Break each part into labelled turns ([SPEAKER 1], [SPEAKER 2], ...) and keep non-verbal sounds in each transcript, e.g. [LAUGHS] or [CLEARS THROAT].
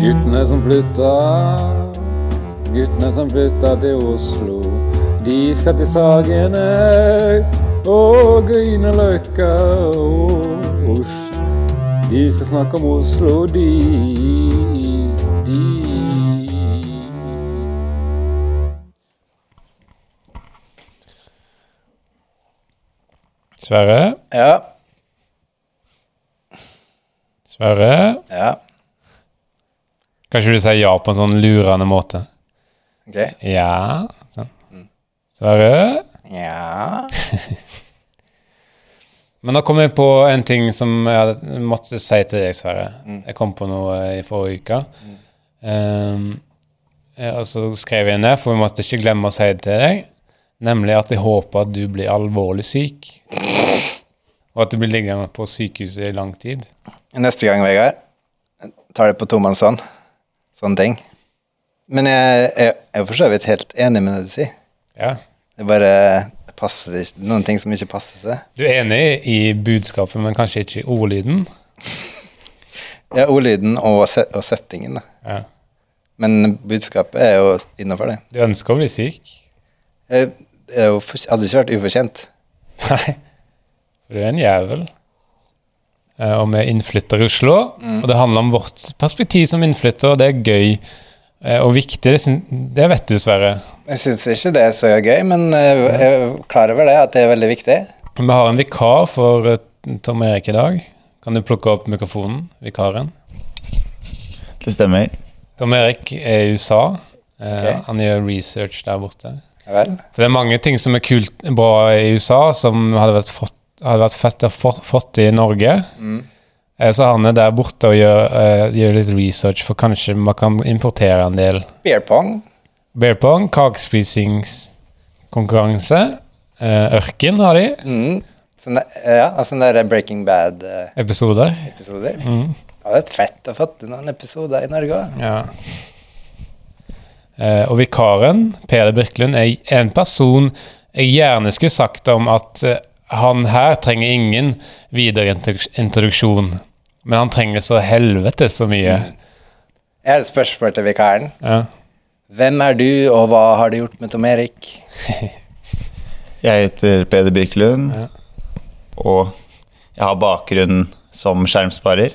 [SPEAKER 1] Guttene som flytta, guttene som flytta til Oslo. De skal til Sagene og Grünerløkka og Oslo. De skal snakke om Oslo, de. de.
[SPEAKER 2] Sverre,
[SPEAKER 3] Ja.
[SPEAKER 2] Sverre.
[SPEAKER 3] Ja.
[SPEAKER 2] Kan ikke du si ja på en sånn lurende måte?
[SPEAKER 3] Ok.
[SPEAKER 2] Ja. Sånn. Sverre.
[SPEAKER 3] Ja.
[SPEAKER 2] Men da kom jeg på en ting som jeg hadde- måtte si til deg, Sverre. Jeg kom på noe eh, i forrige uke. Ehm, eh, og så skrev jeg ned, for vi måtte ikke glemme å si det til deg. Nemlig at jeg håper at du blir alvorlig syk. Og at du blir liggende på sykehuset i lang tid.
[SPEAKER 3] Neste gang, Vegard, tar det på tomannshånd. Sånn ting. Men jeg, jeg, jeg er for så vidt helt enig med det du sier.
[SPEAKER 2] Ja.
[SPEAKER 3] Det bare passer ikke Noen ting som ikke passer seg.
[SPEAKER 2] Du er enig i budskapet, men kanskje ikke i ordlyden?
[SPEAKER 3] Ja, ordlyden og, se- og settingen, da.
[SPEAKER 2] Ja.
[SPEAKER 3] Men budskapet er jo innafor det.
[SPEAKER 2] Du ønsker å bli syk?
[SPEAKER 3] Jeg, jeg er jo for, hadde ikke vært ufortjent.
[SPEAKER 2] Nei, for du er en jævel. Eh, Og vi er innflyttere i Oslo, og det handler om vårt perspektiv som innflytter, og det er gøy eh, og viktig. Det, syn- det vet du, Sverre.
[SPEAKER 3] Jeg syns ikke det er så gøy, men jeg, jeg er klar over det, at det er veldig viktig.
[SPEAKER 2] Vi har en vikar for eh, Tom Erik i dag. Kan du plukke opp mikrofonen, vikaren?
[SPEAKER 4] Det stemmer.
[SPEAKER 2] Tom Erik er i USA. Eh,
[SPEAKER 3] Ok.
[SPEAKER 2] Han gjør research der borte.
[SPEAKER 3] Ja vel.
[SPEAKER 2] For det er mange ting som er kult, bra i USA, som hadde vært, fått, hadde vært fett å få- fått i Norge.
[SPEAKER 3] Mm.
[SPEAKER 2] Eh, Så han er der borte og gjør, eh, gjør litt research, for kanskje man kan importere en del.
[SPEAKER 3] Beer pong.
[SPEAKER 2] Bear pong, kakespisingskonkurranse, eh, ørken har de,
[SPEAKER 3] Mm. Sånn der, ja, og sånn der Breaking Bad-episoder.
[SPEAKER 2] episoder.
[SPEAKER 3] Mm. Det hadde vært fett å få til noen episoder i Norge òg.
[SPEAKER 2] Ja. Eh, og vikaren, Peder Birkelund, er en person jeg gjerne skulle sagt om at eh, han her trenger ingen videre introdu- introduksjon, men han trenger så helvete så mye.
[SPEAKER 3] Jeg har et spørsmål til vikaren.
[SPEAKER 2] Ja.
[SPEAKER 3] Hvem er du, og hva har du gjort med Tom Erik?
[SPEAKER 4] Jeg heter Peder Birkelund,
[SPEAKER 2] Ja.
[SPEAKER 4] og jeg har bakgrunn som skjermsparer.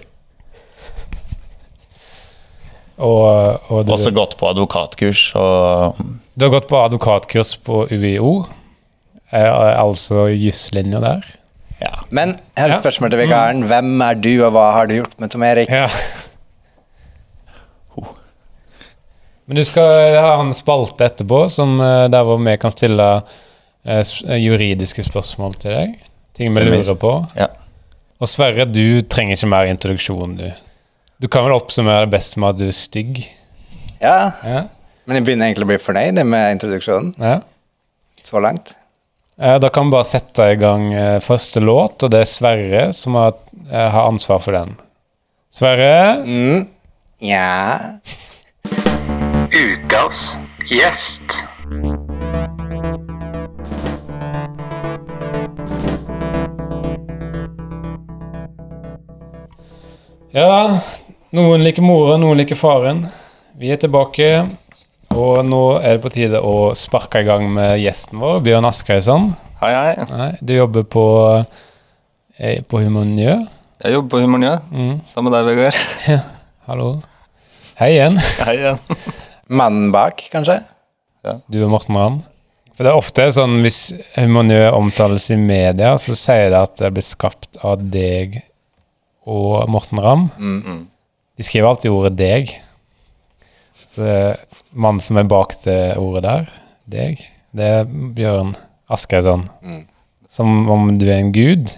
[SPEAKER 2] Og, og du,
[SPEAKER 4] Også gått på advokatkurs og
[SPEAKER 2] du har gått på advokatkurs på UiO, eh, altså juslinja der.
[SPEAKER 4] ja.
[SPEAKER 3] Men jeg har et
[SPEAKER 2] Ja. Mm.
[SPEAKER 3] spørsmål til vikaren. Hvem er du, og hva har du gjort med Tom Erik?
[SPEAKER 2] Ja. [LAUGHS] Men du skal ha en spalte etterpå som, eh, der hvor vi kan stille eh, sp- eh, juridiske spørsmål til deg. Ting vi
[SPEAKER 4] Stemmer.
[SPEAKER 2] lurer på.
[SPEAKER 4] Ja.
[SPEAKER 2] Og Sverre, du trenger ikke mer introduksjon, du. Du kan vel oppsummere det best med at du er stygg.
[SPEAKER 3] Ja,
[SPEAKER 2] Ja.
[SPEAKER 3] men jeg begynner egentlig å bli fornøyd med introduksjonen
[SPEAKER 2] Ja.
[SPEAKER 3] så langt.
[SPEAKER 2] Eh, Da kan vi bare sette i gang eh, første låt, og det er Sverre som har, eh, har ansvar for den. Sverre,
[SPEAKER 3] Mm. Ja.
[SPEAKER 5] Ukas gjest.
[SPEAKER 2] Ja, noen liker mora, noen liker faren. Vi er tilbake, og nå er det på tide å sparke i gang med gjesten vår, Bjørn Askeisson.
[SPEAKER 6] Hei, hei.
[SPEAKER 2] Nei, du jobber på, eh, på Humaniø.
[SPEAKER 6] Jeg jobber på Humornø.
[SPEAKER 4] Mm.
[SPEAKER 6] Sammen med deg, Vegard.
[SPEAKER 4] [LAUGHS]
[SPEAKER 2] Hallo. Hei igjen.
[SPEAKER 6] Hei igjen.
[SPEAKER 3] Mannen bak, kanskje?
[SPEAKER 2] Du er Morten Ramm. For det er ofte sånn hvis Humaniø omtales i media, så sier det at det blir skapt av deg og Morten Ramm.
[SPEAKER 3] Mm.
[SPEAKER 2] De skriver alltid ordet 'deg'. Så det er mannen som er bak det ordet der, deg, det er Bjørn Askeisson. Som om du er en gud.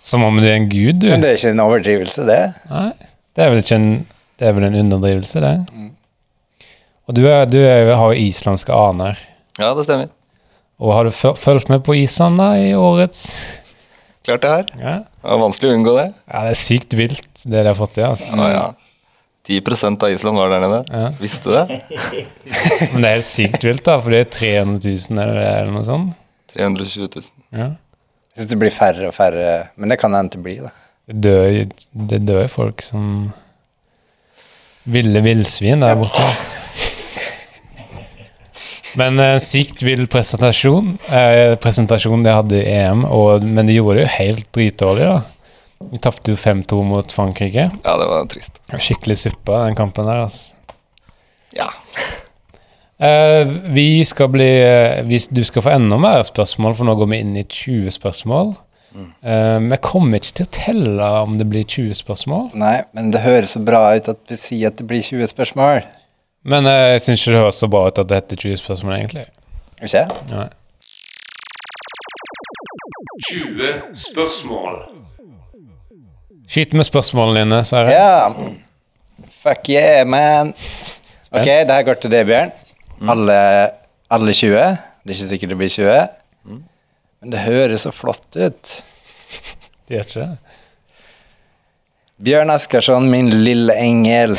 [SPEAKER 2] Som om du er en gud, du.
[SPEAKER 3] Men det er ikke en overdrivelse, det.
[SPEAKER 2] Nei, det er vel ikke en Det er vel en underdrivelse, det. Og du, er, du er, har jo islandske aner.
[SPEAKER 6] Ja, det stemmer.
[SPEAKER 2] Og har du føl- fulgt med på Island da i årets
[SPEAKER 6] Klart det her.
[SPEAKER 2] ja.
[SPEAKER 6] Det var vanskelig å unngå det.
[SPEAKER 2] det er sykt vilt, det de har fått til. Altså.
[SPEAKER 6] Ja, ja. 10 av Island var der nede. Visste du det?
[SPEAKER 2] Men det er helt sykt vilt, da, for det er 300 000 eller, eller noe sånt.
[SPEAKER 6] 320 000.
[SPEAKER 2] Ja.
[SPEAKER 3] Jeg syns det blir færre og færre, men det kan hende det blir, da.
[SPEAKER 2] Det dør, jo- det dør jo folk som ville villsvin der borte. Men eh, sykt vill presentasjon. Eh, presentasjonen de hadde i EM, og, men de gjorde det jo helt dritdårlig, da. Vi tapte jo 5-2 mot Frankrike.
[SPEAKER 6] Ja, det var trist.
[SPEAKER 2] Skikkelig suppe, den kampen der, altså.
[SPEAKER 6] Ja.
[SPEAKER 2] Eh, vi skal bli eh, vi, Du skal få enda mer spørsmål, for nå går vi inn i 20 spørsmål. Eh, vi kommer ikke til å telle om det blir 20 spørsmål,
[SPEAKER 3] Nei, men det høres så bra ut at vi sier at det blir 20 spørsmål.
[SPEAKER 2] men eh, jeg syns ikke det høres så bra ut at det heter 20 spørsmål, egentlig.
[SPEAKER 3] Ikke?
[SPEAKER 2] Nei.
[SPEAKER 5] 20 spørsmål.
[SPEAKER 2] Skyt med spørsmålene dine, Sverre.
[SPEAKER 3] Ja. Fuck yeah, man. Ok, det her går til deg, Bjørn. Alle, alle 20. Det er ikke sikkert det blir 20. Men det høres så flott ut.
[SPEAKER 2] Det gjør ikke det.
[SPEAKER 3] Bjørn Askarsson, min lille engel.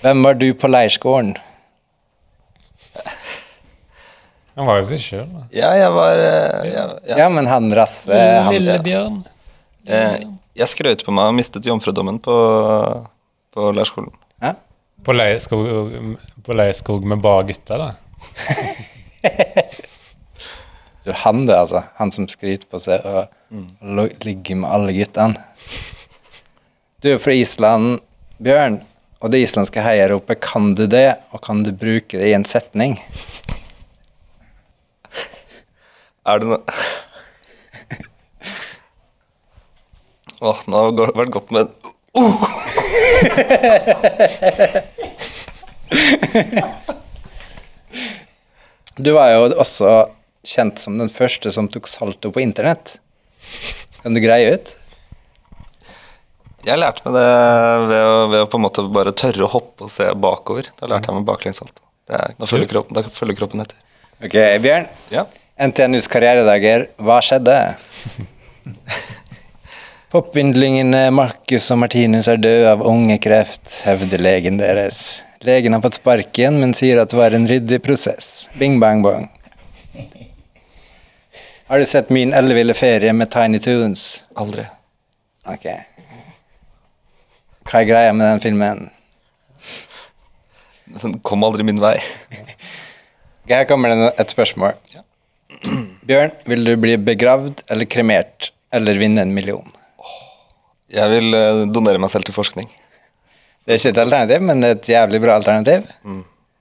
[SPEAKER 3] Hvem var du på leirskolen?
[SPEAKER 2] Han var jo seg sjøl, da.
[SPEAKER 6] Ja, jeg var eh, jeg, ja.
[SPEAKER 3] Ja, men han Rasse
[SPEAKER 2] Eh,
[SPEAKER 3] han,
[SPEAKER 2] Lillebjørn.
[SPEAKER 6] Jeg, jeg skrøt på meg og mistet jomfrudommen på, på leirskolen.
[SPEAKER 3] ja?
[SPEAKER 2] På leirskog, på leirskog med bare gutter, da.
[SPEAKER 3] Du, han det, altså. Han som skryter på seg og lo- ligger med alle guttene. Du er fra Island, Bjørn, og det islandske heiaropet 'Kan du det?' og 'Kan du bruke det i en setning?'
[SPEAKER 6] Er det noe [LAUGHS] Åh, nå har det vært godt med
[SPEAKER 3] Du var jo også kjent som den første som tok salto på internett. Kan du greie ut?
[SPEAKER 6] Jeg lærte meg det ved å, ved å på en måte bare tørre å hoppe og se bakover. Da lærte jeg meg baklengssalto. Det er- Da følger kroppen, da følger kroppen etter.
[SPEAKER 3] Ok, Bjørn.
[SPEAKER 6] Ja.
[SPEAKER 3] NTNUs karrieredager, hva skjedde? Poppyndlingene eh, Marcus og Martinus er døde av ungekreft, hevder legen deres. Legen har fått sparken, men sier at det var en ryddig prosess. Bing bang bang. Har du sett min elleville ferie med Tiny Tunes?
[SPEAKER 6] Aldri.
[SPEAKER 3] Ok. Hva er greia med den filmen?
[SPEAKER 6] Den Sånn, kom aldri min vei.
[SPEAKER 3] Ok, Her kommer det et spørsmål. [CLEARS THROAT] Bjørn, vil du bli begravd eller kremert, eller vinne en million?
[SPEAKER 6] Jeg vil eh, donere meg selv til forskning.
[SPEAKER 3] Det er ikke et alternativ, men det er et jævlig bra alternativ.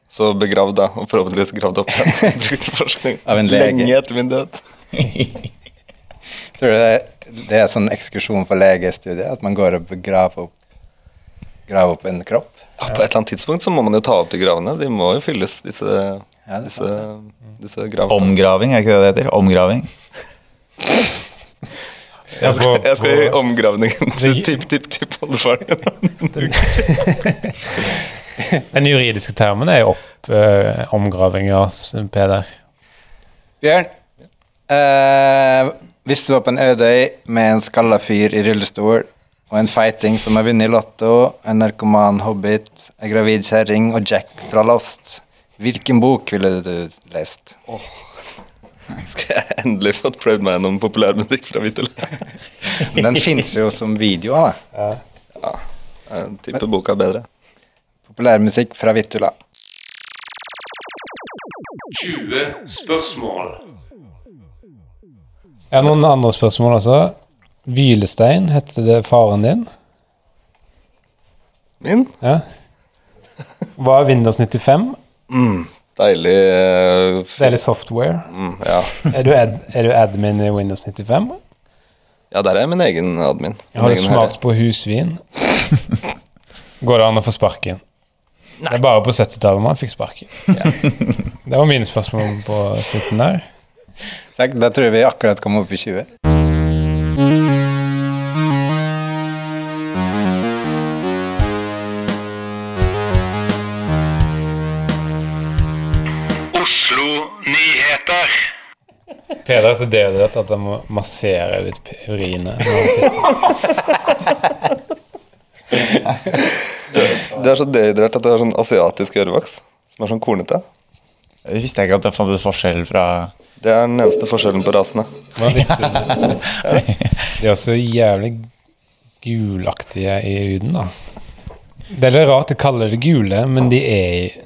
[SPEAKER 6] Så begrav da, og forhåpentligvis gravd opp igjen. [LAUGHS] Brukt til forskning.
[SPEAKER 3] Av en lege.
[SPEAKER 6] Lenge etter min død.
[SPEAKER 3] Tror du det, det er sånn ekskursjon for legestudiet, at man går og begraver opp, graver opp en kropp?
[SPEAKER 6] Ja, på et eller annet tidspunkt så må man jo ta opp de gravene. De må jo fylles, disse,
[SPEAKER 3] det er
[SPEAKER 6] disse, mm. disse gravene.
[SPEAKER 4] Omgraving, er ikke det det heter? Omgraving.
[SPEAKER 2] Jeg
[SPEAKER 6] [LAUGHS] Jeg skal i omgravningen til [LAUGHS] tipp-tipp-tipp-oldefaren min.
[SPEAKER 2] Den juridiske termen er jo opp eh, omgravinga, Peder.
[SPEAKER 3] Bjørn, eh, hvis du var på en ødøy med en skalla fyr i rullestol, og en feiting som har vunnet i Lotto, en narkoman hobbit, ei gravid kjerring og Jack fra Lost, hvilken bok ville du lest?
[SPEAKER 6] [LAUGHS] Skal jeg endelig få prøvd meg gjennom populærmusikk fra Hvit og Lønn?
[SPEAKER 3] Den fins jo som video, da.
[SPEAKER 6] Jeg tipper boka er bedre.
[SPEAKER 3] Populærmusikk fra Vittula.
[SPEAKER 5] 20 spørsmål.
[SPEAKER 2] Jeg har noen andre spørsmål også. Hvilestein, heter det faren din?
[SPEAKER 6] Min?
[SPEAKER 2] Ja. Hva er Windows 95?
[SPEAKER 6] Deilig eh, f-
[SPEAKER 2] Det er litt software.
[SPEAKER 6] mm, ja.
[SPEAKER 2] Er du, ad, er du admin i Windows 95?
[SPEAKER 6] ja, der er jeg min egen admin. Min
[SPEAKER 2] Har du
[SPEAKER 6] egen
[SPEAKER 2] smakt på
[SPEAKER 6] [LAUGHS]
[SPEAKER 2] husvin? Går det an å få sparken? Det er bare på 70-tallet man fikk sparken. Det var mine spørsmål på slutten der.
[SPEAKER 3] Takk, Da tror jeg vi akkurat kom opp i 20.
[SPEAKER 5] Oslo nyheter.
[SPEAKER 2] Peder er så dehydrert at han må massere ut p- urinet.
[SPEAKER 6] [LAUGHS] herre. Du er så dehydrert at du har sånn asiatisk ørevaks som er sånn kornete.
[SPEAKER 4] Jeg visste ikke at det fantes forskjell fra
[SPEAKER 6] Det er den eneste forskjellen på rasene.
[SPEAKER 2] Hva visste du? De er også jævlig gulaktige i huden, da. Det er litt rart de kaller det gule, men de er,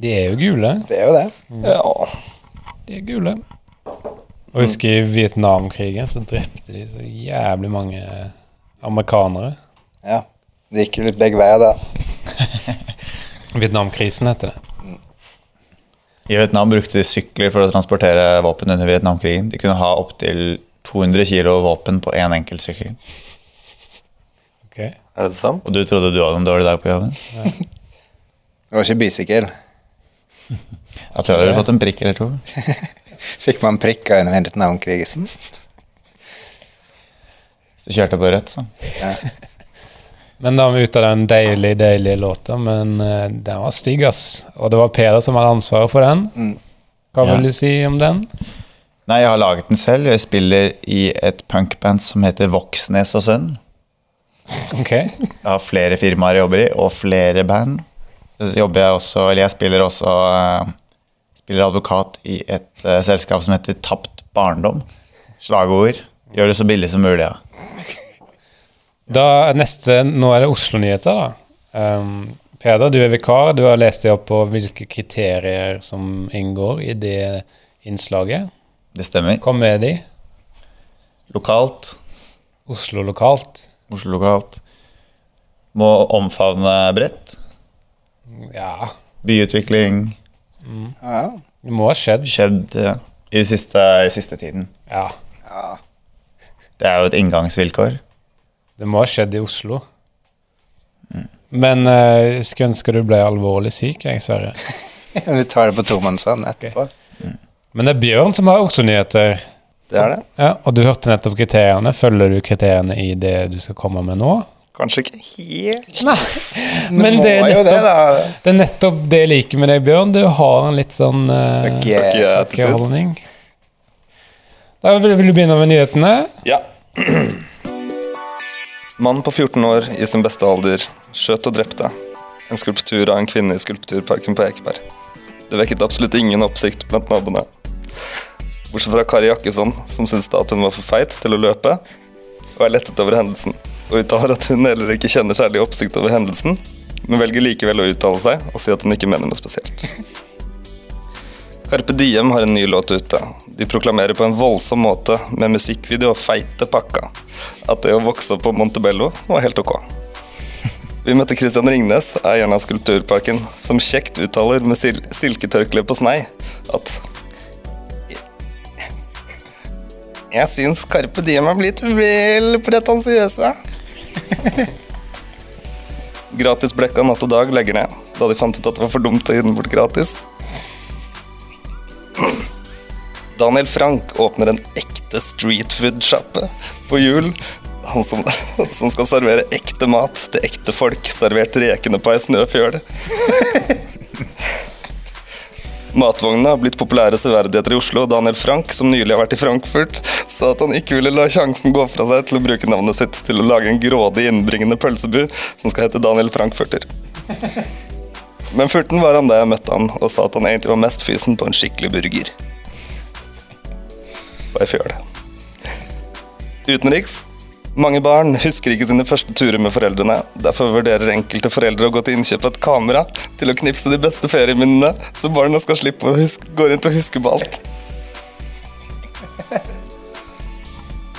[SPEAKER 2] de er jo gule.
[SPEAKER 3] Det er jo det.
[SPEAKER 6] Ja.
[SPEAKER 2] De er gule. Og jeg husker i Vietnamkrigen så drepte de så jævlig mange amerikanere.
[SPEAKER 3] Ja. Det gikk jo litt begge veier, da.
[SPEAKER 2] Vietnamkrisen heter det.
[SPEAKER 4] I Vietnam brukte de sykler for å transportere våpen under Vietnamkrigen. De kunne ha opptil 200 kilo våpen på én enkelt sykkel.
[SPEAKER 2] Ok.
[SPEAKER 6] Er det sant?
[SPEAKER 4] Og du trodde du hadde en dårlig dag på jobben?
[SPEAKER 3] Det var ikke bysykkel.
[SPEAKER 4] Jeg tror jeg hadde fått en prikk eller to.
[SPEAKER 3] Fikk man prikka under
[SPEAKER 2] Mm.
[SPEAKER 3] Vietnamkrigen.
[SPEAKER 4] Så kjørte jeg på rødt, så.
[SPEAKER 2] Men da var vi ute av den deilige, deilige låta, men eh, den var stygg, ass. Og det var Peder som hadde ansvaret for den. Hva
[SPEAKER 4] Ja.
[SPEAKER 2] vil du si om den?
[SPEAKER 4] Nei, jeg har laget den selv. Jeg spiller i et punkband som heter Voksnes og Sønn.
[SPEAKER 2] Ok.
[SPEAKER 4] Jeg har flere firmaer jeg jobber i, og flere band. Så jobber jeg også, eller jeg spiller også eh, spiller advokat i et eh, selskap som heter Tapt barndom. Slagord. Gjør det så billig som mulig, ja.
[SPEAKER 2] Da er neste, Nå er det Oslo-nyheter, da. Um, Peder, du er vikar. Du har lest deg opp på hvilke kriterier som inngår i det innslaget.
[SPEAKER 4] Det stemmer.
[SPEAKER 2] Kom med de.
[SPEAKER 4] Lokalt.
[SPEAKER 2] Oslo lokalt.
[SPEAKER 4] Oslo lokalt. Må omfavne bredt.
[SPEAKER 2] Ja,
[SPEAKER 4] Byutvikling.
[SPEAKER 3] Ja.
[SPEAKER 2] det må ha skjedd.
[SPEAKER 4] Skjedd eh, i, det siste, i siste tiden.
[SPEAKER 2] Ja,
[SPEAKER 4] Det er jo et inngangsvilkår.
[SPEAKER 2] det må ha skjedd i Oslo. Men eh, jeg skulle ønske du ble alvorlig syk, jeg, Sverre.
[SPEAKER 3] [LAUGHS] Vi tar det på tomannshånd etterpå.
[SPEAKER 2] Men det er Bjørn som har Oslo-nyheter.
[SPEAKER 6] Det er det.
[SPEAKER 2] Ja, og du hørte nettopp kriteriene. Følger du kriteriene i det du skal komme med nå?
[SPEAKER 6] Kanskje ikke helt
[SPEAKER 2] Men det er
[SPEAKER 3] Må jo det,
[SPEAKER 2] nettopp
[SPEAKER 3] da.
[SPEAKER 2] det, er nettopp det jeg liker med deg, Bjørn. Du har en litt sånn eh,
[SPEAKER 3] Fuck yeah.
[SPEAKER 6] Fuck yeah. attitude.
[SPEAKER 2] holdning. Da vil, vil du begynne med nyhetene.
[SPEAKER 6] Ja. Mann på 14 år i sin beste alder skjøt og drepte. En skulptur av en kvinne i skulpturparken på Ekeberg. Det vekket absolutt ingen oppsikt blant naboene. Bortsett fra Kari Jakkesson, som syns at hun var for feit til å løpe, og er lettet over hendelsen. Og uttaler at hun heller ikke kjenner særlig oppsikt over hendelsen, men velger likevel å uttale seg og si at hun ikke mener noe spesielt. Carpe Diem har en ny låt ute. De proklamerer på en voldsom måte, med musikkvideo og feite pakka, at det å vokse opp på Montebello var helt ok. Vi møtte Christian Ringnes, eieren av Skulpturparken, som kjekt uttaler med sil silketørkle på snei at Jeg syns Carpe Diem er blitt vel pretensiøse. Gratis blekk av Natt og Dag legger ned, da de fant ut at det var for dumt å gi den bort gratis. Daniel Frank åpner en ekte streetfood-sjappe på jul. Han som, [LAUGHS] som skal servere ekte mat til ekte folk, servert rekende på ei snøfjøl. [LAUGHS] Matvognene har blitt populære severdigheter i Oslo, og Daniel Frank, som nylig har vært i Frankfurt, sa at han ikke ville la sjansen gå fra seg til å bruke navnet sitt til å lage en grådig, innbringende pølsebu som skal hete Daniel Frankfurter. [LAUGHS] Men furten var han da jeg møtte han, og sa at han egentlig var mest fysen på en skikkelig burger på ei fjøl. Utenriks. Mange barn husker ikke sine første turer med foreldrene. Derfor vurderer enkelte foreldre å gå til innkjøp av et kamera til å knipse de beste ferieminnene, så barna skal slippe å huske, gå rundt og huske på alt.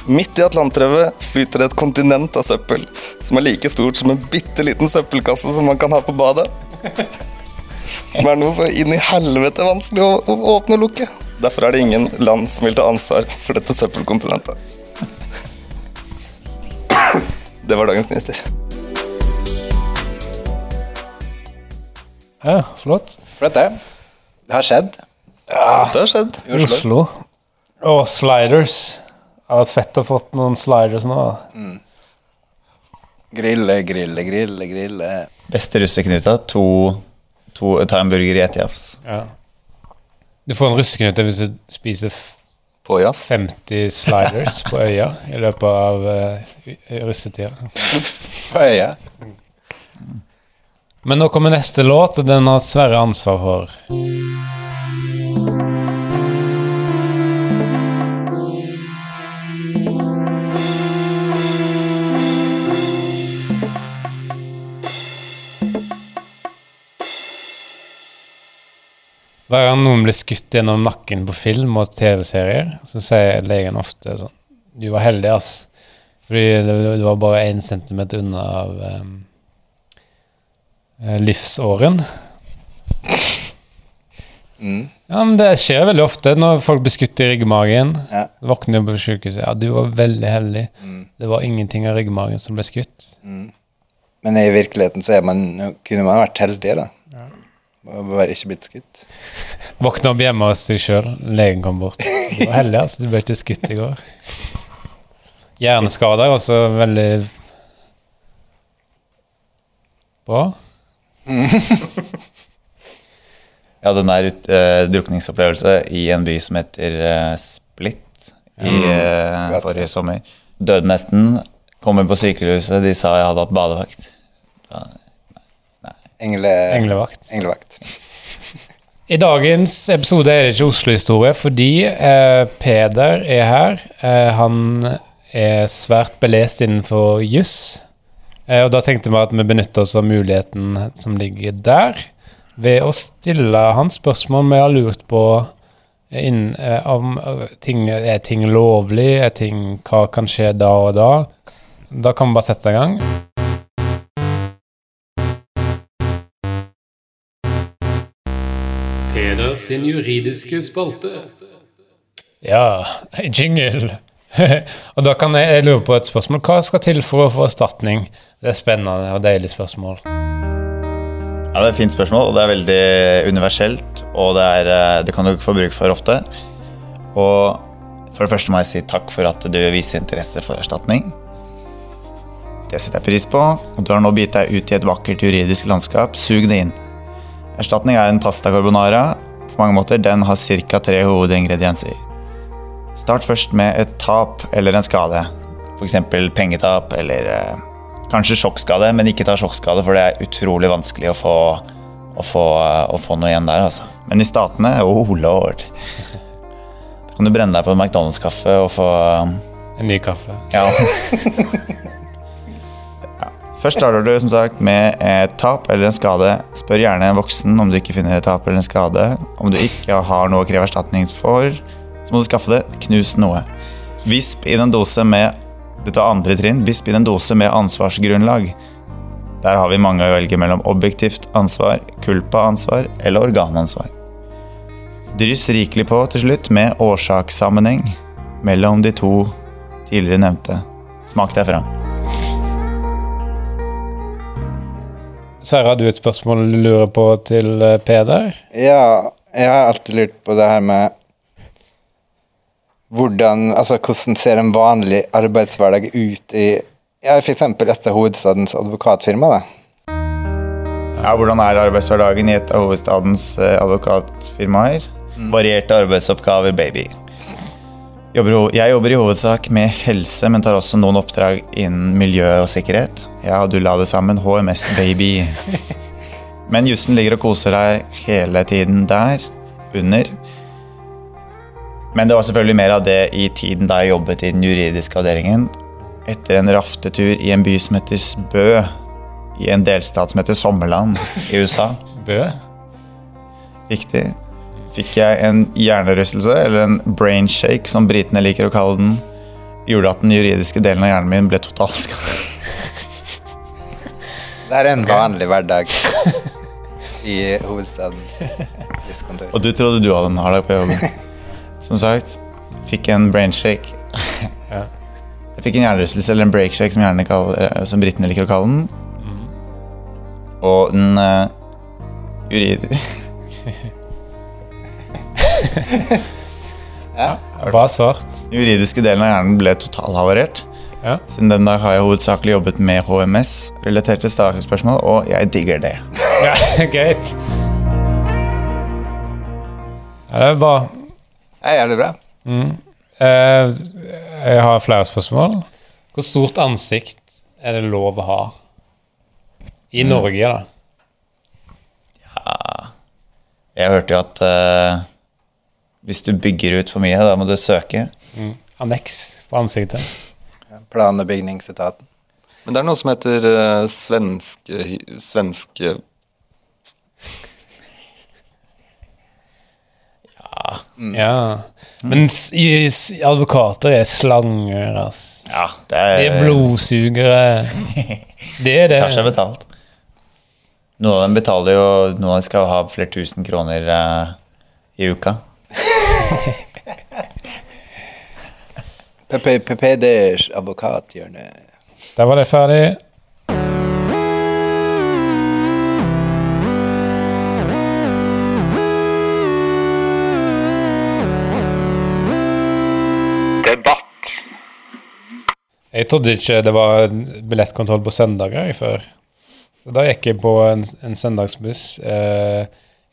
[SPEAKER 6] Midt i Atlanterhavet flyter det et kontinent av søppel, som er like stort som en bitte liten søppelkasse som man kan ha på badet. Som er noe så inn i helvete vanskelig å å åpne og lukke. Derfor er det ingen land som vil ta ansvar for dette søppelkontinentet. Det var dagens nyheter.
[SPEAKER 2] Ja, flott.
[SPEAKER 3] For dette, det har skjedd.
[SPEAKER 6] Det har skjedd.
[SPEAKER 2] Oslo. Og sliders. Det har vært fett å fått noen sliders nå. da.
[SPEAKER 3] Grille, grille, grille, grille.
[SPEAKER 4] Beste russeknuta. To, to ta en burger i ett jafs.
[SPEAKER 2] Du får en russeknute hvis du spiser f-
[SPEAKER 6] På jafs.
[SPEAKER 2] 50 sliders på øya i løpet av uh, russetida.
[SPEAKER 3] På øya.
[SPEAKER 2] Men nå kommer neste låt, og den har Sverre ansvar for. Hver gang noen blir skutt gjennom nakken på film og TV-serier, så sier legen ofte sånn Du var heldig, ass. Fordi du- du var bare én centimeter unna av ehm, em, eh, livsåren. Ja, men Det skjer veldig ofte når folk blir skutt i ryggmagen.
[SPEAKER 3] Ja.
[SPEAKER 2] Våkner på sykehuset. Ja, du var veldig heldig. Det var ingenting av ryggmagen som ble skutt.
[SPEAKER 3] Men i virkeligheten så er man, kunne man vært heldig, da. Og bare ikke blitt skutt.
[SPEAKER 2] Våkner opp hjemme hos deg sjøl. Legen kom bort. Du var heldig, altså. Du ble ikke skutt i går. Hjerneskader er også veldig bra.
[SPEAKER 4] Jeg hadde en nær ut- eh, drukningsopplevelse i en by som heter eh, Split i eh,
[SPEAKER 3] Godt, ja.
[SPEAKER 4] forrige sommer. Døde nesten. Kom inn på sykehuset, de sa jeg hadde hatt badevakt.
[SPEAKER 3] Engle,
[SPEAKER 2] Englevakt.
[SPEAKER 3] Englevakt.
[SPEAKER 2] I dagens episode er det ikke Oslo-historie, fordi eh, Peder er her. Eh, han er svært belest innenfor juss. Eh, og da tenkte vi at vi benytter oss av muligheten som ligger der, ved å stille hans spørsmål vi har lurt på eh, inn, eh, om eh, ting, er ting lovlig, er ting, hva kan skje da og da. Da kan vi bare sette i gang.
[SPEAKER 5] Peder sin juridiske spalte.
[SPEAKER 2] Ja, jingle. [LAUGHS] og da kan jeg, jeg lure på et spørsmål. Hva skal til for å få erstatning? Det er spennende og deilig spørsmål.
[SPEAKER 4] Ja, det er et fint spørsmål, og det er veldig universelt. Og det, er, eh, det kan du ikke få bruk for ofte. Og for det første må jeg si takk for at du viser interesse for erstatning. Det setter jeg pris på. og Du har nå bitt deg ut i et vakkert juridisk landskap. Sug det inn. Erstatning er en pasta carbonara. På mange måter den har ca. tre hovedingredienser. Start først med et tap eller en skade. F.eks. pengetap eller eh, kanskje sjokkskade, men ikke ta sjokkskade, for det er utrolig vanskelig å få, å få, eh, å få noe igjen der, altså. Men i Statene, oh lord. Da kan du brenne deg på en McDonald's-kaffe og få
[SPEAKER 2] En ny kaffe.
[SPEAKER 4] ja. Først starter du som sagt med et tap eller en skade. Spør gjerne en voksen om du ikke finner et tap eller en skade. Om du ikke har noe å kreve erstatning for, så må du skaffe det. Knus noe. Visp inn en dose med dette er andre trinn. Visp inn en dose med ansvarsgrunnlag. Der har vi mange å velge mellom objektivt ansvar, culpa-ansvar eller organansvar. Dryss rikelig på til slutt med årsakssammenheng mellom de to tidligere nevnte. Smak deg fram.
[SPEAKER 2] Sverre, har du et spørsmål du lurer på til eh, Peder?
[SPEAKER 3] Ja, jeg har alltid lurt på det her med hvordan, altså, hvordan ser en vanlig arbeidshverdag ut i ja, f.eks. etter hovedstadens advokatfirma? da?
[SPEAKER 4] Ja, hvordan er arbeidshverdagen i et av hovedstadens eh, advokatfirmaer? Varierte arbeidsoppgaver, baby. Jobber, ho- jeg jobber i hovedsak med helse, men tar også noen oppdrag innen miljø og sikkerhet. Ja, du la det sammen. HMS, baby. [LAUGHS] Men jussen ligger og koser deg hele tiden der, under. Men det var selvfølgelig mer av det i tiden da jeg jobbet i den juridiske avdelingen. Etter en raftetur i en by som heter Spø, i en delstat som heter Sommerland i USA.
[SPEAKER 2] Bø?
[SPEAKER 4] Riktig. Fikk jeg en hjernerystelse, eller en brain shake, som britene liker å kalle den, gjorde at den juridiske delen av hjernen min ble totalt skadet.
[SPEAKER 3] Det er en vanlig hverdag [LAUGHS] i hovedstadens juskontor.
[SPEAKER 4] Og du trodde du hadde en hard dag på jobben. Som sagt, fikk en brain shake.
[SPEAKER 2] Ja.
[SPEAKER 4] Jeg fikk en hjernerystelse, eller en break shake, som, gjerne kaller, eh, som britene liker å kalle den. Og den eh, juridi-
[SPEAKER 2] Bra svart.
[SPEAKER 4] juridiske delen av hjernen ble totalhavarert.
[SPEAKER 2] Ja.
[SPEAKER 4] Siden den dag har jeg hovedsakelig jobbet med HMS-relaterte spørsmål, og jeg digger det.
[SPEAKER 2] [LAUGHS] Ja, Greit. Ja, det er bra.
[SPEAKER 3] Det er jævlig bra.
[SPEAKER 2] Eh, jeg har flere spørsmål. Hvor stort ansikt er det lov å ha? I Norge, da.
[SPEAKER 4] Jeg hørte jo at eh, hvis du bygger ut for mye, da må du søke.
[SPEAKER 2] Anneks på ansiktet.
[SPEAKER 3] Plan- og bygningsetaten.
[SPEAKER 6] Men det er noe som heter eh, svenske... Svenske...
[SPEAKER 2] Ja. Men s- i- s- advokater er slanger, ass.
[SPEAKER 4] Ja, det
[SPEAKER 2] De er blodsugere. Det er det.
[SPEAKER 4] tar seg betalt. Noen av dem betaler jo Noen av dem skal ha flere tusen kroner eh, i uka.
[SPEAKER 3] PPDers advokathjørne.
[SPEAKER 2] Der var det ferdig.
[SPEAKER 7] Debatt.
[SPEAKER 2] Jeg trodde ikke det var billettkontroll på søndager jeg, før. Så da gikk jeg på en, en søndagsbuss eh,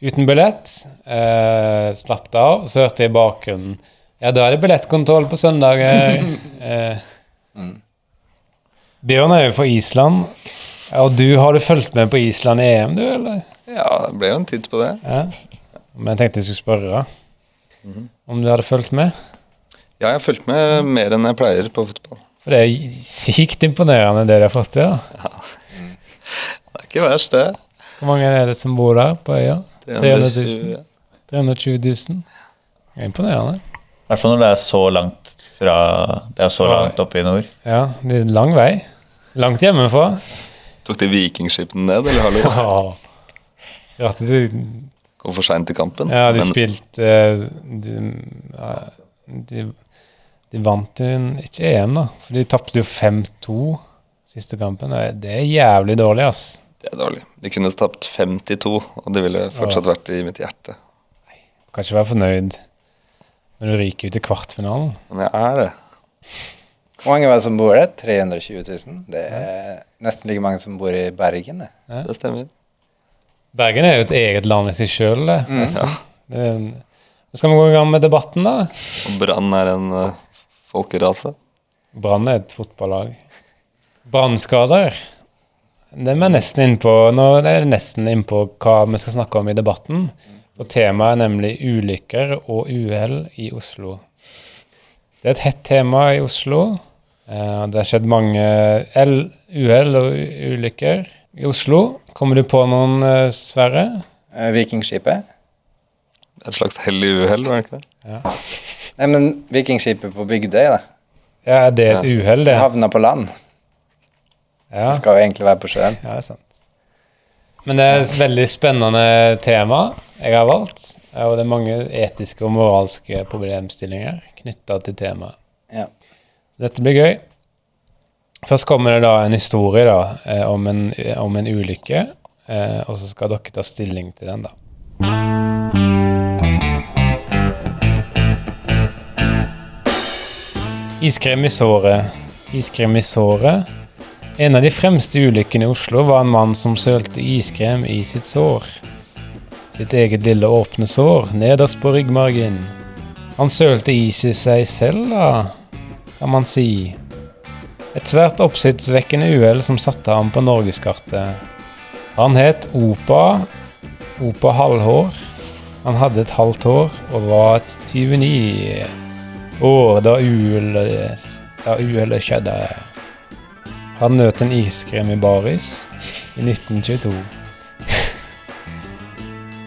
[SPEAKER 2] uten billett. Eh, slapp det av, så hørte jeg i bakgrunnen Ja, da er det billettkontroll på søndager. eh, Bjørn er jo fra Island. Og du, har du fulgt med på Island i EM, du, eller?
[SPEAKER 6] Ja, det ble jo en tid på det.
[SPEAKER 2] Men jeg tenkte jeg skulle spørre om du hadde fulgt med.
[SPEAKER 6] Ja, jeg har fulgt med mer enn jeg pleier på fotball.
[SPEAKER 2] For det er sykt imponerende, det de har fått til. da.
[SPEAKER 6] Det er ikke verst, det.
[SPEAKER 2] Hvor mange er det som bor der på øya? 300 000?
[SPEAKER 6] 320.
[SPEAKER 2] 320 000. Det er Imponerende.
[SPEAKER 4] I hvert fall når det er så langt fra Det er så
[SPEAKER 2] Fra-
[SPEAKER 4] langt oppe i nord.
[SPEAKER 2] Ja, det er lang vei. Langt hjemmefra.
[SPEAKER 6] Tok de vikingskipene ned, eller hallo?
[SPEAKER 2] Åh. Rart at de,
[SPEAKER 6] Kom for seint til kampen.
[SPEAKER 2] ja, de
[SPEAKER 6] men
[SPEAKER 2] spilte eh, de, ja, de, de vant jo en- ikke EM, da. For de tapte jo 5-2 siste kampen. og Det er jævlig dårlig, ass.
[SPEAKER 6] det er dårlig. De kunne tapt 52, og det ville fortsatt vært i mitt hjerte.
[SPEAKER 2] Du kan ikke være fornøyd når du ryker ut i kvartfinalen.
[SPEAKER 6] Men jeg er det.
[SPEAKER 3] Hvor mange var det som bor der? 320 000? Det er nesten like mange som bor i Bergen. det.
[SPEAKER 6] Det stemmer.
[SPEAKER 2] Bergen er jo et eget land i seg sjøl. Skal vi gå i gang med debatten, da?
[SPEAKER 6] Og Brann er en eh, folkerase.
[SPEAKER 2] Brann er et fotballag. Brannskader. Det er vi nesten inn på, nå er det nesten inn på hva vi skal snakke om i debatten. Og temaet er nemlig ulykker og uhell i Oslo. Det er et hett tema i Oslo. Eh, Det har skjedd mange el- uhell og u- ulykker i Oslo. Kommer du på noen, eh, Sverre?
[SPEAKER 3] Eh, Vikingskipet.
[SPEAKER 6] Et slags hell i uhell, var det ikke det?
[SPEAKER 3] Nei, men Vikingskipet på Bygdøy, da.
[SPEAKER 2] Ja, er det et uhell, det?
[SPEAKER 3] Havna på land.
[SPEAKER 2] Ja.
[SPEAKER 3] Skal jo egentlig være på sjøen.
[SPEAKER 2] Ja, det er sant. Men det er et veldig spennende tema jeg har valgt. Og det er mange etiske og moralske problemstillinger knytta til temaet.
[SPEAKER 3] Ja.
[SPEAKER 2] Så dette blir gøy. Først kommer det da en historie da, eh, om, en, om en ulykke, eh, og så skal dere ta stilling til den, da. Iskrem i såret. Iskrem i såret. En av de fremste ulykkene i Oslo var en mann som sølte iskrem i sitt sår. Sitt eget lille åpne sår, nederst på ryggmargen. Han sølte is i seg selv, da, kan man si. Et svært oppsiktsvekkende uhell som satte ham på norgeskartet. Han het Opa Opa Halvhår. Han hadde et halvt hår og var et 29 år da uhellet da uhellet skjedde. Han nøt en iskrem i baris i 1922.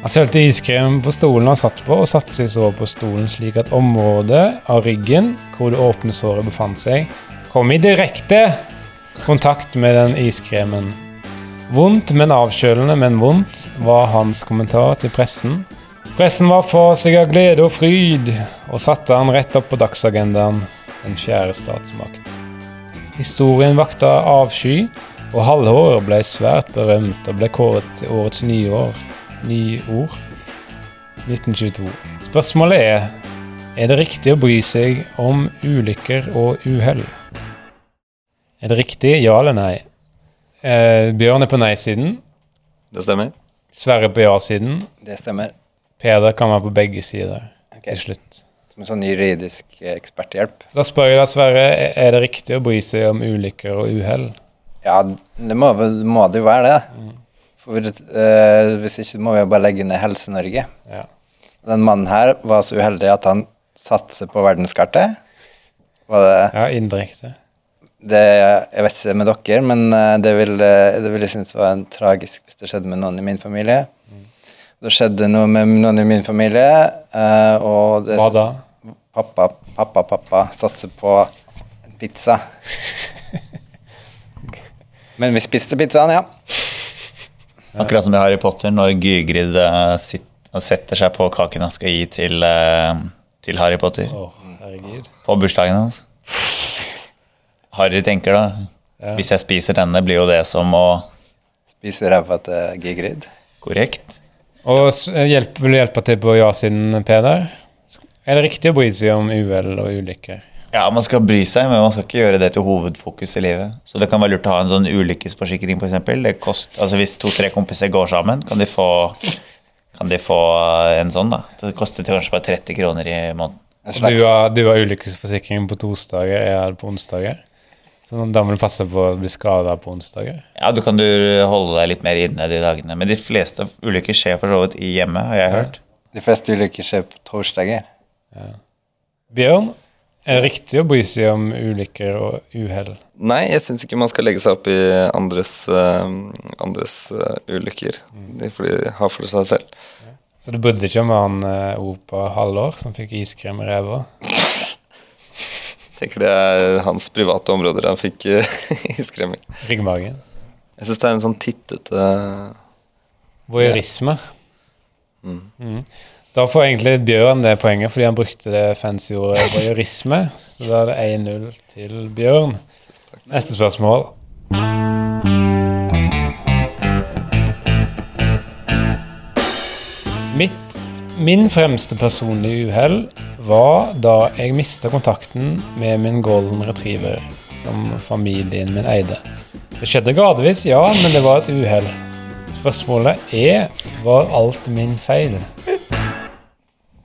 [SPEAKER 2] Han sølte iskrem på stolen han satt på, og satte seg så på stolen slik at området av ryggen hvor det åpne såret befant seg, kom i direkte kontakt med den iskremen. Vondt, men avkjølende, men vondt, var hans kommentar til pressen. Pressen var fra seg av glede og fryd, og satte han rett opp på dagsagendaen, den fjerde statsmakt. Historien vakta avsky, og halvåret ble svært berømt og ble kåret til årets nyår, nyord 1922. Spørsmålet er er det riktig å bry seg om ulykker og uhell. Er det riktig, ja eller nei? Eh, Bjørn er på nei-siden,
[SPEAKER 6] Det stemmer.
[SPEAKER 2] Sverre på ja-siden,
[SPEAKER 3] Det stemmer.
[SPEAKER 2] Peder kan være på begge sider
[SPEAKER 3] Ok.
[SPEAKER 2] til slutt.
[SPEAKER 3] Som sånn juridisk eh, eksperthjelp.
[SPEAKER 2] Da spør jeg deg, Sverre, er det riktig å bry seg om ulykker og uhell?
[SPEAKER 3] Ja, det må, vel- må det jo være det.
[SPEAKER 2] Mm.
[SPEAKER 3] For eh, Hvis ikke må vi jo bare legge ned Helse-Norge.
[SPEAKER 2] Ja.
[SPEAKER 3] Den mannen her var så uheldig at han satser på verdenskartet. Var det,
[SPEAKER 2] Ja, indirekte.
[SPEAKER 3] det, jeg vet ikke med dere,
[SPEAKER 2] Mm.
[SPEAKER 3] men eh, det ville vil jeg synes var en tragisk hvis det skjedde med noen i min familie. Det skjedde noe med noen i min familie, eh, og det
[SPEAKER 2] Hva da?
[SPEAKER 3] Pappa, pappa, pappa satser på en [LAUGHS] pizza. Men vi spiste pizzaen, ja.
[SPEAKER 4] Akkurat som i Harry Potter, når Gygrid eh, sitt- setter seg på kaken han skal gi til, eh, til Harry Potter
[SPEAKER 2] Å, herregud.
[SPEAKER 4] på bursdagen hans. Harry tenker da Hvis jeg spiser denne, blir jo det som å
[SPEAKER 3] Spiser ræva til Gigrid.
[SPEAKER 4] Korrekt.
[SPEAKER 2] Og s- eh, hjelp, vil du hjelpe til på ja-siden, Peder? Er det riktig å bry seg om uhell og ulykker?
[SPEAKER 4] Ja, man skal bry seg, men man skal ikke gjøre det til hovedfokus i livet. Så det kan være lurt å ha en sånn ulykkesforsikring, f.eks. Altså hvis to-tre kompiser går sammen, kan de, få, kan de få en sånn, da. Det koster kanskje bare 30 kroner i måneden.
[SPEAKER 3] En
[SPEAKER 2] Du
[SPEAKER 3] slags
[SPEAKER 2] har, du har ulykkesforsikring på torsdager, jeg har det på onsdager. Så da må du passe på å bli skada på onsdager.
[SPEAKER 4] Ja, du kan du holde deg litt mer inne de dagene. Men de fleste ulykker skjer for så vidt i hjemmet, har jeg hørt.
[SPEAKER 3] De fleste ulykker skjer på torsdager.
[SPEAKER 2] Bjørn, er det riktig å bry seg om ulykker og uhell?
[SPEAKER 6] Nei, jeg syns ikke man skal legge seg opp i andres, eh, andres eh, ulykker.
[SPEAKER 2] Mm.
[SPEAKER 6] De får de ha for seg selv.
[SPEAKER 2] Så du brydde deg ikke om han eh, Opa Hallår som fikk iskrem i ræva?
[SPEAKER 6] Tenker det er hans private områder han fikk eh, [LAUGHS] iskrem i.
[SPEAKER 2] Ryggmagen?
[SPEAKER 6] Jeg syns det er en sånn tittete
[SPEAKER 2] Voyeurisme. Mm. Da får egentlig Bjørn det poenget, fordi han brukte det fancy ordet voyeurisme. Så da er det 1-0 til Bjørn. Neste spørsmål. Mitt, min fremste personlige uhell var da jeg mista kontakten med min golden retriever, som familien min eide. Det skjedde gradvis, ja, men det var et uhell. Spørsmålet er Var alt min feil?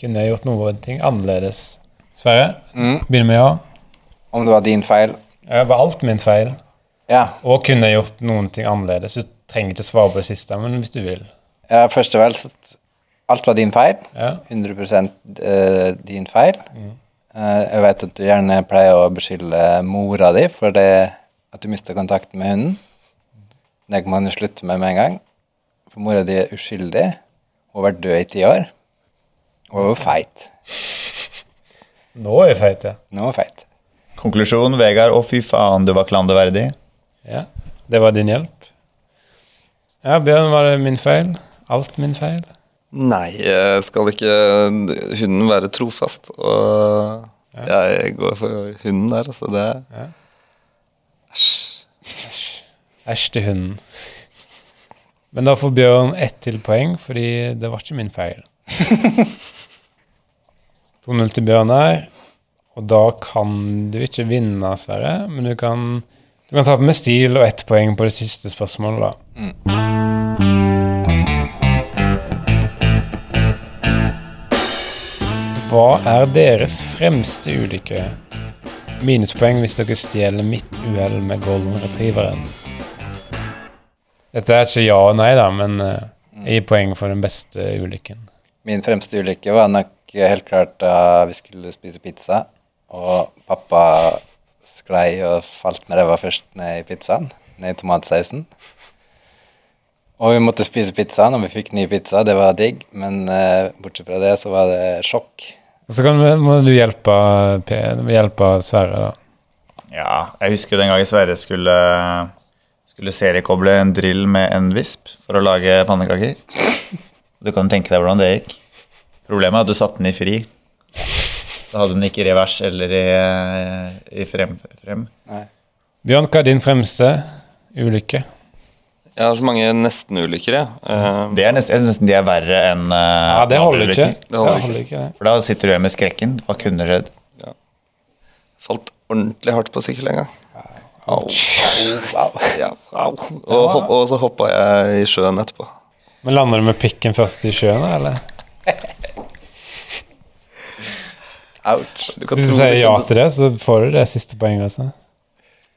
[SPEAKER 2] Kunne jeg gjort noe ting annerledes? Sverre, begynner med ja.
[SPEAKER 3] Om det var din feil
[SPEAKER 2] Ja, Var alt min feil?
[SPEAKER 3] Ja.
[SPEAKER 2] Og kunne jeg gjort noen ting annerledes? Du trenger ikke svare på det siste, men hvis du vil.
[SPEAKER 3] ja først og fremst Alt var din feil.
[SPEAKER 2] Ja.
[SPEAKER 3] 100 eh, din feil. Eh, Jeg vet at du gjerne pleier å beskylde mora di for det at du mista kontakten med hunden. Det kan man jo slutte med med en gang. For mora di er uskyldig. Hun har vært død i ti år. Hun var feit.
[SPEAKER 2] Nå er jeg feit, ja.
[SPEAKER 3] Nå er hun feit.
[SPEAKER 4] Konklusjon, Vegard, å fy faen, du var klanderverdig.
[SPEAKER 2] ja. Det var din hjelp. Ja, Bjørn, var det min feil? Alt min feil?
[SPEAKER 6] Nei, eh, skal ikke hunden være trofast? Og jeg går for hunden der, altså. Det
[SPEAKER 2] Æsj til hunden. Men da får Bjørn ett til poeng, fordi det var ikke min feil. [LAUGHS] 2-0 til Bjørn her. Og da kan du ikke vinne, Sverre, men du kan, du kan tape med stil og ett poeng på det siste spørsmålet, da. Hva er deres fremste ulykke? Minuspoeng hvis dere stjeler mitt uhell med golden retrieveren. Dette er ikke ja og nei, da, men eh, jeg gir poeng for den beste ulykken.
[SPEAKER 3] Min fremste ulykke var nok helt klart da vi skulle spise pizza, og pappa sklei og falt med ræva først ned i pizzaen, ned i tomatsausen. Og vi måtte spise pizzaen, og vi fikk ny pizza, det var digg, men eh, bortsett fra det så var det sjokk.
[SPEAKER 2] Og så kan, vi- må du hjelpe, P- du må hjelpe Sverre, da.
[SPEAKER 4] Ja, jeg husker den gangen Sverre skulle, skulle seriekoble en drill med en visp for å lage pannekaker. Du kan tenke deg hvordan det gikk. Problemet er at du satte den i fri. Da hadde den ikke i revers eller i, i frem. frem.
[SPEAKER 2] Bjørn, hva er din fremste ulykke?
[SPEAKER 6] Jeg har så mange nesten-ulykker, jeg. Eh,
[SPEAKER 4] Det er nesten, jeg synes de er verre enn eh,
[SPEAKER 2] Ja, det holder
[SPEAKER 4] andre
[SPEAKER 2] ikke.
[SPEAKER 4] ulykker.
[SPEAKER 2] Det holder ikke, det.
[SPEAKER 4] For da sitter du igjen med skrekken. Hva kunne skjedd?
[SPEAKER 6] falt ordentlig hardt på sykkel en gang. Au. Ja, au. Og, hopp, og så hoppa jeg i sjøen etterpå.
[SPEAKER 2] Men lander du med pikken først i sjøen, eller?
[SPEAKER 6] Ouch. Du kan
[SPEAKER 2] Hvis du
[SPEAKER 6] tro
[SPEAKER 2] sier
[SPEAKER 6] det
[SPEAKER 2] ja
[SPEAKER 6] skjedde.
[SPEAKER 2] til det, så får du det siste poenget også.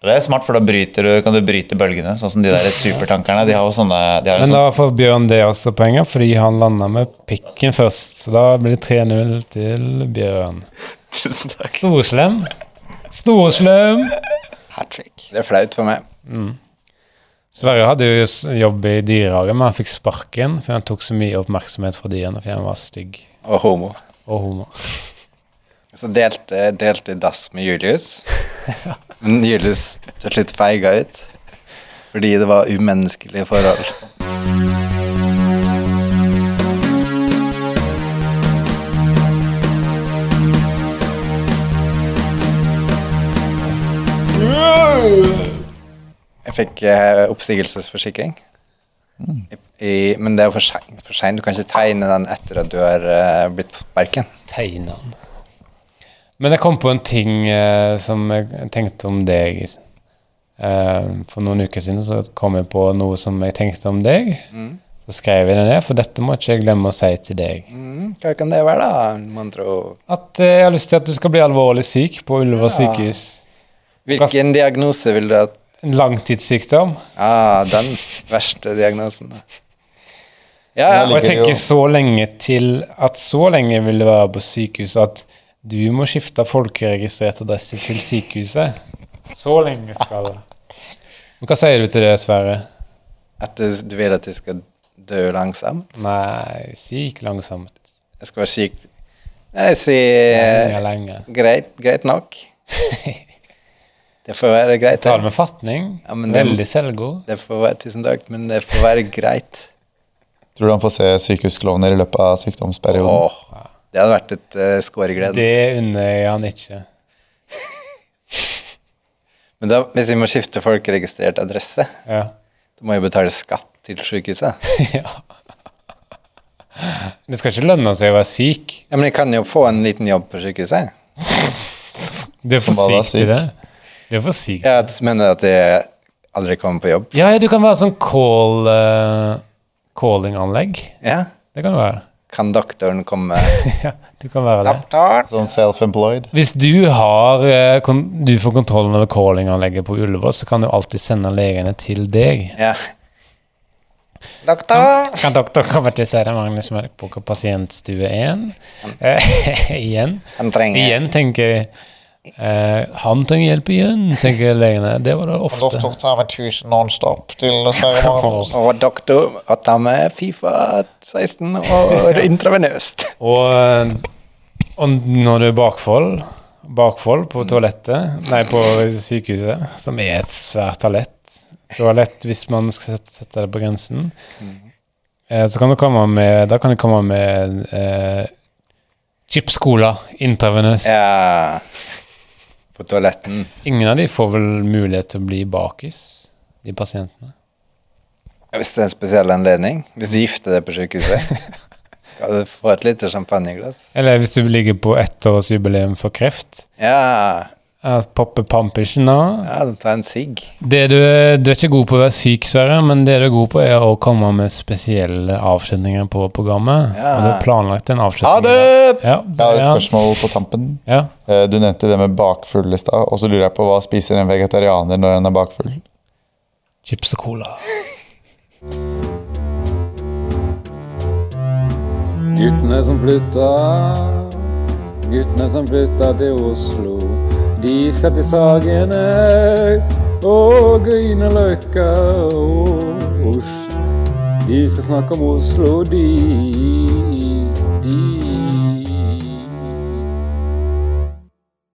[SPEAKER 4] Og Det er smart, for da bryter du, kan du bryte bølgene. Sånn som de der supertankerne. De har jo sånne de har jo
[SPEAKER 2] Men
[SPEAKER 4] sånn- sånt-
[SPEAKER 2] da får Bjørn det også poenget, fordi han landa med pikken først. Så da blir det 3-0 til Bjørn.
[SPEAKER 6] [LAUGHS] Tusen takk.
[SPEAKER 2] Storslem. Storslem.
[SPEAKER 6] Hat trick.
[SPEAKER 3] Det er flaut for meg.
[SPEAKER 2] Sverre hadde jo s- jobb i dyrehagen, men han fikk sparken for han tok så mye oppmerksomhet fra dyrene fordi han var stygg
[SPEAKER 3] Og homo.
[SPEAKER 2] og homo.
[SPEAKER 3] Så delte, delte dass med Julius. Men Julius til slutt feiga ut. Fordi det var umenneskelige forhold. Jeg fikk eh, oppsigelsesforsikring. I, i, men det er jo for sein- for seint. Du kan ikke tegne den etter at du har eh, blitt fått sparken.
[SPEAKER 2] tegne han. Men jeg kom på en ting eh, som jeg tenkte om deg. Eh, for noen uker siden så kom jeg på noe som jeg tenkte om deg. Så skrev jeg det ned, for dette må ikke jeg glemme å si til deg.
[SPEAKER 3] Mm, hva kan det være, da, man tror?
[SPEAKER 2] At eh, jeg har lyst til at du skal bli alvorlig syk på Ullevål sykehus.
[SPEAKER 3] Hvilken diagnose vil du ha?
[SPEAKER 2] En langtidssykdom.
[SPEAKER 3] Ah, den verste diagnosen. da. Ja, ja.
[SPEAKER 2] Og jeg
[SPEAKER 4] ligger det jo-
[SPEAKER 2] tenker så lenge til at så lenge vil du være på sykehus at du må skifte folkeregistrert adresse til sykehuset. Så lenge skal det. Men hva sier du til det, Sverre?
[SPEAKER 3] At du, du vil at jeg skal dø langsomt?
[SPEAKER 2] Nei, syk langsomt.
[SPEAKER 3] Jeg skal være syk Nei, Jeg sier eh,
[SPEAKER 2] Lenge, lenge.
[SPEAKER 3] greit, greit
[SPEAKER 4] [LAUGHS]
[SPEAKER 3] nok. Det får være greit.
[SPEAKER 2] Ta det
[SPEAKER 3] Det,
[SPEAKER 2] med fatning.
[SPEAKER 3] Ja, men det-
[SPEAKER 2] Veldig selvgod.
[SPEAKER 3] det får være Tusen takk, men det får være greit.
[SPEAKER 4] Tror du han får se sykehusklovner i løpet av sykdomsperioden?
[SPEAKER 3] Åh, det hadde vært et uh, skåreglede.
[SPEAKER 2] Det unner jeg han ikke.
[SPEAKER 3] Men da, hvis vi må skifte folkeregistrert adresse,
[SPEAKER 2] Ja. [LAUGHS]
[SPEAKER 3] da må jeg betale skatt til sykehuset.
[SPEAKER 2] ja. Det skal ikke lønne seg å være syk.
[SPEAKER 3] Ja, men jeg kan jo få en liten jobb på sykehuset.
[SPEAKER 2] Du er
[SPEAKER 4] Som
[SPEAKER 2] for syk
[SPEAKER 4] bare er syk.
[SPEAKER 2] til det. Du er for syk.
[SPEAKER 3] Jeg mener at jeg aldri kommer på jobb.
[SPEAKER 2] Ja, ja, du kan være sånn call eh, calling-anlegg.
[SPEAKER 3] Ja.
[SPEAKER 2] Det kan du være.
[SPEAKER 3] Kan doktoren komme?
[SPEAKER 2] [LAUGHS] ja, du kan være det.
[SPEAKER 3] Doktor?
[SPEAKER 4] Sånn self-employed?
[SPEAKER 2] Hvis du, har, eh, kon du får kontrollen over calling-anlegget på Ullevål, så kan du alltid sende legene til deg.
[SPEAKER 3] Ja. Doktor?
[SPEAKER 2] Kan doktor komme til Sverre Magnus Mørk på pasientstue 1? Eh, [LAUGHS] igjen.
[SPEAKER 3] Han trenger
[SPEAKER 2] Igjen, tenker jeg. Eh, han trenger hjelp igjen, tenker legene. Det var det ofte.
[SPEAKER 4] tar med 1000 nonstop til Sverre
[SPEAKER 2] [LAUGHS] Magnus.
[SPEAKER 3] Og doktor å ta med Fifa 16 og intravenøst.
[SPEAKER 2] Og, eh, og når du er bakfold, bakfold på toalettet, nei, på sykehuset, som er et svært toalett, toalett hvis man skal sette, sette det på grensen, eh, så kan du komme med, da kan du komme med eh, chips cola intravenøst.
[SPEAKER 3] Ja. På toaletten.
[SPEAKER 2] Ingen av de får vel mulighet til å bli bakis, de pasientene.
[SPEAKER 3] Hvis det er en spesiell anledning. Hvis du gifter deg på sykehuset, skal du få et lite champagneglass.
[SPEAKER 2] Eller hvis du ligger på ettårsjubileum for kreft,
[SPEAKER 3] Ja.
[SPEAKER 2] eh, popper pampisen av.
[SPEAKER 3] ja, ta en sigg.
[SPEAKER 2] Det du, du er ikke god på å være syk, Sverre, men det du er god på, er å komme med spesielle avslutninger på programmet.
[SPEAKER 3] Ja.
[SPEAKER 2] Og du har planlagt en avslutning.
[SPEAKER 3] Ha det!
[SPEAKER 2] Ja,
[SPEAKER 4] Jeg har et
[SPEAKER 2] ja,
[SPEAKER 4] spørsmål på tampen.
[SPEAKER 2] ja.
[SPEAKER 4] Eh, Du nevnte det med bakfull i stad, og så lurer jeg på hva spiser en vegetarianer når han er bakfull?
[SPEAKER 2] Chips og cola.
[SPEAKER 1] Guttene som flytta, guttene som flytta til Oslo. De skal til Sagene og Grünerløkka og Os- De skal snakke om Oslo, de.